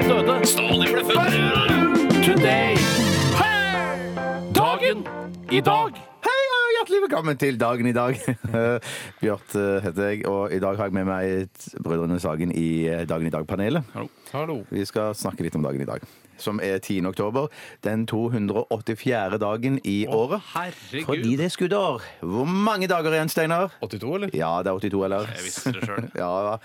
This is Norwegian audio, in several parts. Stalin ble født. Today. Dagen i dag. Hei og hjertelig velkommen til dagen i dag. Bjørt eh, heter jeg, og i dag har jeg med meg t- Brødrene Sagen i eh, Dagen i dag-panelet. Hallo. Vi skal snakke litt om dagen i dag, som er 10. oktober. Den 284. dagen i året. herregud. Fordi det er skuddår. Hvor mange dager igjen, Steinar? 82, eller? Ja, det er 82, eller? Jeg visste det selv. Ja,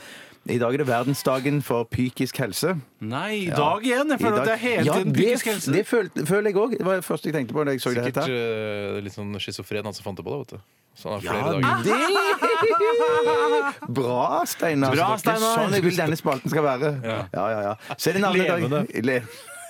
I dag er det verdensdagen for psykisk helse. Nei, i dag igjen. Jeg I føler dag- at det er hele Ja, tiden det- psykisk helse. Det føl- føler jeg òg. Det var det første jeg tenkte på da jeg så det Sikkert dette. her. eh, litt sånn schizofren han som fant det på det, vet du. Så han har flere Ja, dager. det Bra, Steinar. Det Bra, er Steinar. sånn jeg vil denne spalten skal være. Ja, ja, ja. Så er det en annen dag. Levende. Le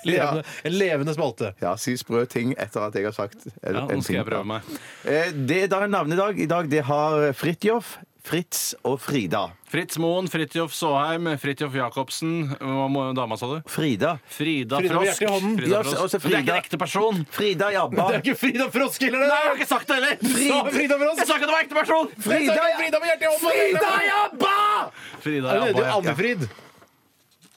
Levende, Ja. en levende spalte. Ja, si sprø ting etter at jeg har sagt en, Ja, en nå skal ting. jeg prøve meg. Eh, Det er da en navnedag i dag. Det har Fridtjof, Fritz og Frida. Fritz Moen, Fridtjof Saaheim, Fridtjof Jacobsen Hva må dama, sa du? Frida. Frida Frida med Frosk. hjertet i hånden. Frida Ja, Frosk. også Men det er ikke Frida. en ekte person. Frida Jabba. Det er ikke Frida Frosk, eller? Nei, jeg har ikke sagt det heller! Frida- Frida Frosk. Jeg sa ikke det var ekte person! Frida, Frida med hjertet i hånden! Frida Jabba! Frida Eller, Jabba, det er ja. Anne-Frid.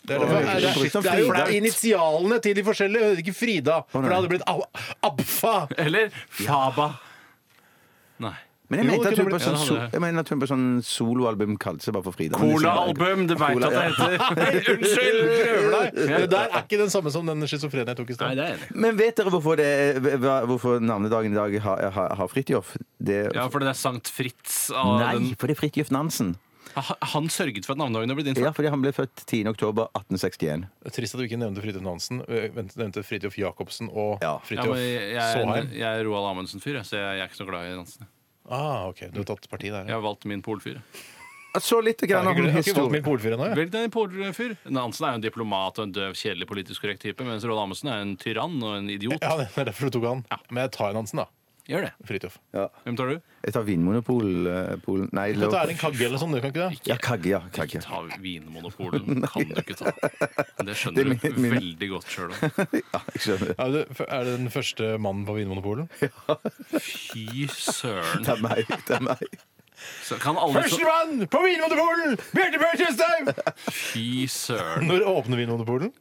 Det er, Å, det, det det, høres ut som er, jo Frida. initialene til de forskjellige, det er ikke Frida. For det hadde blitt Ab- Abfa. Eller Faba. Nei. Men jeg Jo, mente det at hun kunne på bli- sånn, Ja, det so hadde det. jeg mener at hun på sånn soloalbum kalte seg bare for Frida. men det er sånn- Cola-album, du veit Cola, at det ja. heter. Nei, Du prøver Unnskyld! deg. Det der er ikke den samme som den schizofrene jeg tok i Nei, stad. det er jeg enig. i. Men vet dere hvorfor, det, hva- hvorfor navnedagen i dag har, har, har Fridtjof? Det, Ja, for det er Sankt Fritz av den nei, for det er Fridtjof Nansen. Ha- Han sørget for at navnedagen ble din. Ja, fordi han ble født 10. oktober 1861. Trist at du ikke nevnte Fridtjof Nansen. Eh, vent, Nevnte Fridtjof Jacobsen og Ja. Ja, men Fridtjof jeg, er- Såheim. jeg er Roald Amundsen-fyr, jeg, så jeg er ikke så glad i Nansen. Ah, ok, Du har tatt parti der. Jeg ja. har valgt min polfyr. Så litt Jeg grann har om ikke- jeg har ikke historie. valgt min polfyr ennå. jeg. Velg deg en polfyr. Nansen er jo en diplomat og en døv, kjedelig politisk korrekt type, mens Roald Amundsen er en tyrann og en idiot. Ja, det er derfor du tok han. Men jeg tar en Hansen, da. Gjør det. Fridtjof. Ja. Hvem tar du? Jeg tar Vinmonopol eh, Polen. Nei, Du kan ta lov. Erling Kagge eller sånn, du kan ikke det? Ja, Kagge, ja. Kagge. Ta Vinmonopolen. Kan du ikke ta. Det Det skjønner er du min- min- veldig godt sjøl òg. Ja, jeg skjønner. Er du, er du den første mannen på Vinmonopolet? Fy søren. Det er meg. Det er meg. Så kan alle så... mann på Vinmonopolet! Bjarte Bjørn Tjøstheim! Fy søren. Når åpner Vinmonopolet?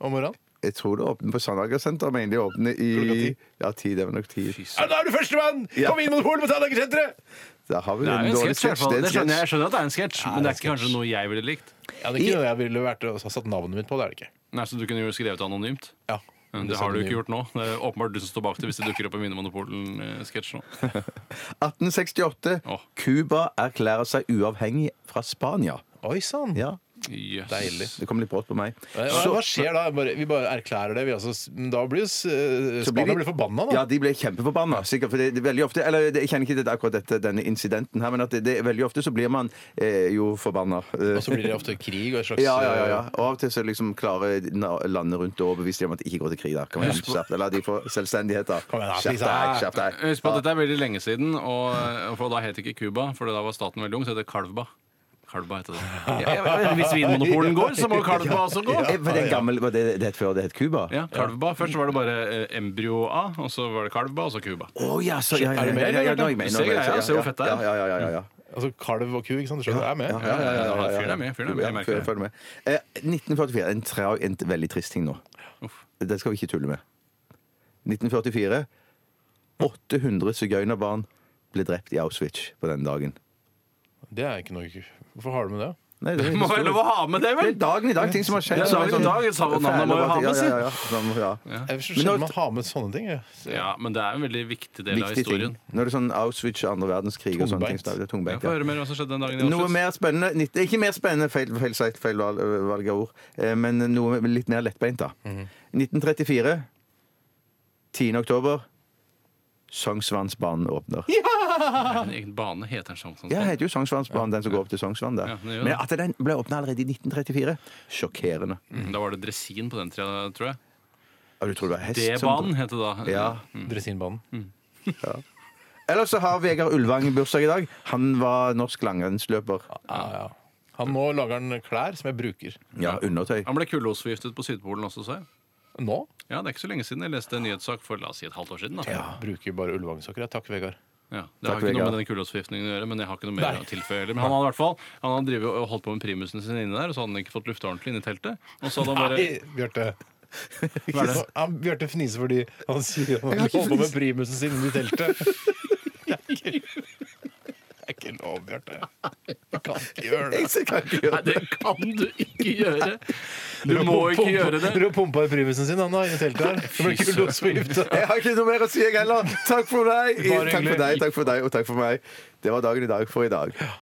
Om morgenen? Jeg tror det åpner på Sandagersenteret. Mener de åpner Klokka i ti. Ja, ti. Det var nok ti. Fy Ja, søren. da er du første mann Ja. på Vinmonopolet på Sandagersenteret! Der har vi Det er en jo en dårlig sketsj. i hvert sketsj. fall. Det er Det en skjønner jeg, sketsj. jeg skjønner at det er en sketsj, men det er ikke kanskje noe jeg ville likt. Ja, det er ikke noe jeg ville vært og satt navnet mitt på. det er det ikke. Nei, Så altså, du kunne jo skrevet det anonymt? Ja. Men Det har du ikke gjort nå. Det er åpenbart du som står bak det hvis det dukker opp en Vinmonopolen-sketsj nå. 1868. Åh. Cuba erklærer seg uavhengig fra Spania. Oi sann! Ja, Yes. Deilig. det kom litt brått på meg. Hva, hva skjer da? Bare, vi bare erklærer det. Vi altså, da blir jo s- eh, Så blir Spania de- blir forbanna, da. Ja, de ble kjempeforbanna. Sikkert, for det, det er veldig ofte, eller Jeg kjenner ikke til akkurat dette, denne incidenten her, men at det, det, er veldig ofte så blir man eh, jo forbanna. Og så blir det ofte krig og et slags eh, Ja, ja, ja, ja. Og av og til så liksom klarer na- landet rundt å overbevise dem om at de ikke går til krig. da Kan man skjerpe- Eller de får selvstendighet, da. Kom igjen, da, Skjerp deg, ah. Lisa. skjerp deg. Husk på at dette er veldig lenge siden, og, og for da het ikke Cuba, for da var staten veldig ung, så het det Kalvba. Kalvba heter det. Ja, ja, Hvis Vinmonopolen går, så må jo Kalvba også gå. Eh, Var det, en gammel, var det det het før det het Cuba? Ja, Kalvba. Først var det bare eh, Embryo A, og så var det Kalvba, og så Cuba. Å ja, så ja, ja, Er du ja, med, ja, ja, ja, nå er jeg Du med, nå ser er jeg med, greia, ja, ser hvor fett det er. Ja, ja, ja, ja, ja. Altså kalv og ku, ikke sant? Du skjønner? Jeg er med. Ja, ja, ja, ja, ja, Fyren ja. er med, fyren er med, jeg merker Fyren det. følger med. Eh, 1944. En, tra en veldig trist ting nå. Uff. Det skal vi ikke tulle med. 1944. 800 sigøynerbarn ble drept i Auschwitz på den dagen. Det er ikke noe Hvorfor har du med det? Nei, det, er Må vel lov å ha med det, det vel? er dagen i dag, ting som har skjedd. Det er som er dagen i dag, så navnet må jo ha med, ja, ja, ja, sånn, ja. Jeg Men skjønner nå- man har med sånne ting. jeg. Så- Ja, men det er en veldig viktig del av Viktig ting. historien. Når det er sånn Auschwitz og andre verdenskrig og sånne ting. Tungbeint. så er det Jeg Tungbeint. får Ja. høre mer om hva som skjedde den dagen. i Noe Auschwitz. mer spennende nitt- Ikke mer spennende, feil, feil, sagt, feil valg, valg av ord, eh, men noe litt mer lettbeint, da. Mhm. 1934. 10. oktober. Sognsvannsbanen åpner. Er det En egen bane heter den sånn. sånn. Ja, det heter jo Sognsvannsbanen, den som går opp til Sognsvann der. Ja, den gjør det. Men at den ble åpna allerede i 1934, sjokkerende. Mm, Da var det dresin på den tida, tror jeg. Ja, du tror det var hest D-banen het det da. Ja. Mm. Dresinbanen. Ellers så har Vegard Ulvang bursdag i dag. Han var norsk langrennsløper. Ja, ja. Han nå lager han klær som jeg bruker. Ja, undertøy. Han ble kullosforgiftet på Sydpolen også, sa jeg. Nå Ja, Det er ikke så lenge siden jeg leste en nyhetssak for la oss si et halvt år siden. da. bruker jeg bare ullvangsokker. jeg. Takk, Vegard. Ja, det har Takk, ikke noe Vegard. med den kullosforgiftningen å gjøre, men jeg har ikke noe Nei. mer å tilføye heller. Men han hadde i hvert fall han hadde drivet og holdt på med primusen sin inne der, og så hadde han ikke fått lufta ordentlig inne i teltet. Og så hadde han bare Nei, Bjarte. Hva er det? Han Bjarte fniser fordi han sier har han holder ikke på med primusen sin i teltet. Det er ikke lov, Bjarte. Jeg kan ikke gjøre det. Jeg kan ikke gjøre Nei, det kan du ikke gjøre! Du må ikke gjøre det! Dere har pumpa i primusen sin, han da, i teltet her. Det blir ikke lov til å gifte Jeg har ikke noe mer å si, jeg heller. Takk for meg. Bare Takk for hyggelig. deg, takk for deg og takk for meg. Det var dagen i dag for i dag.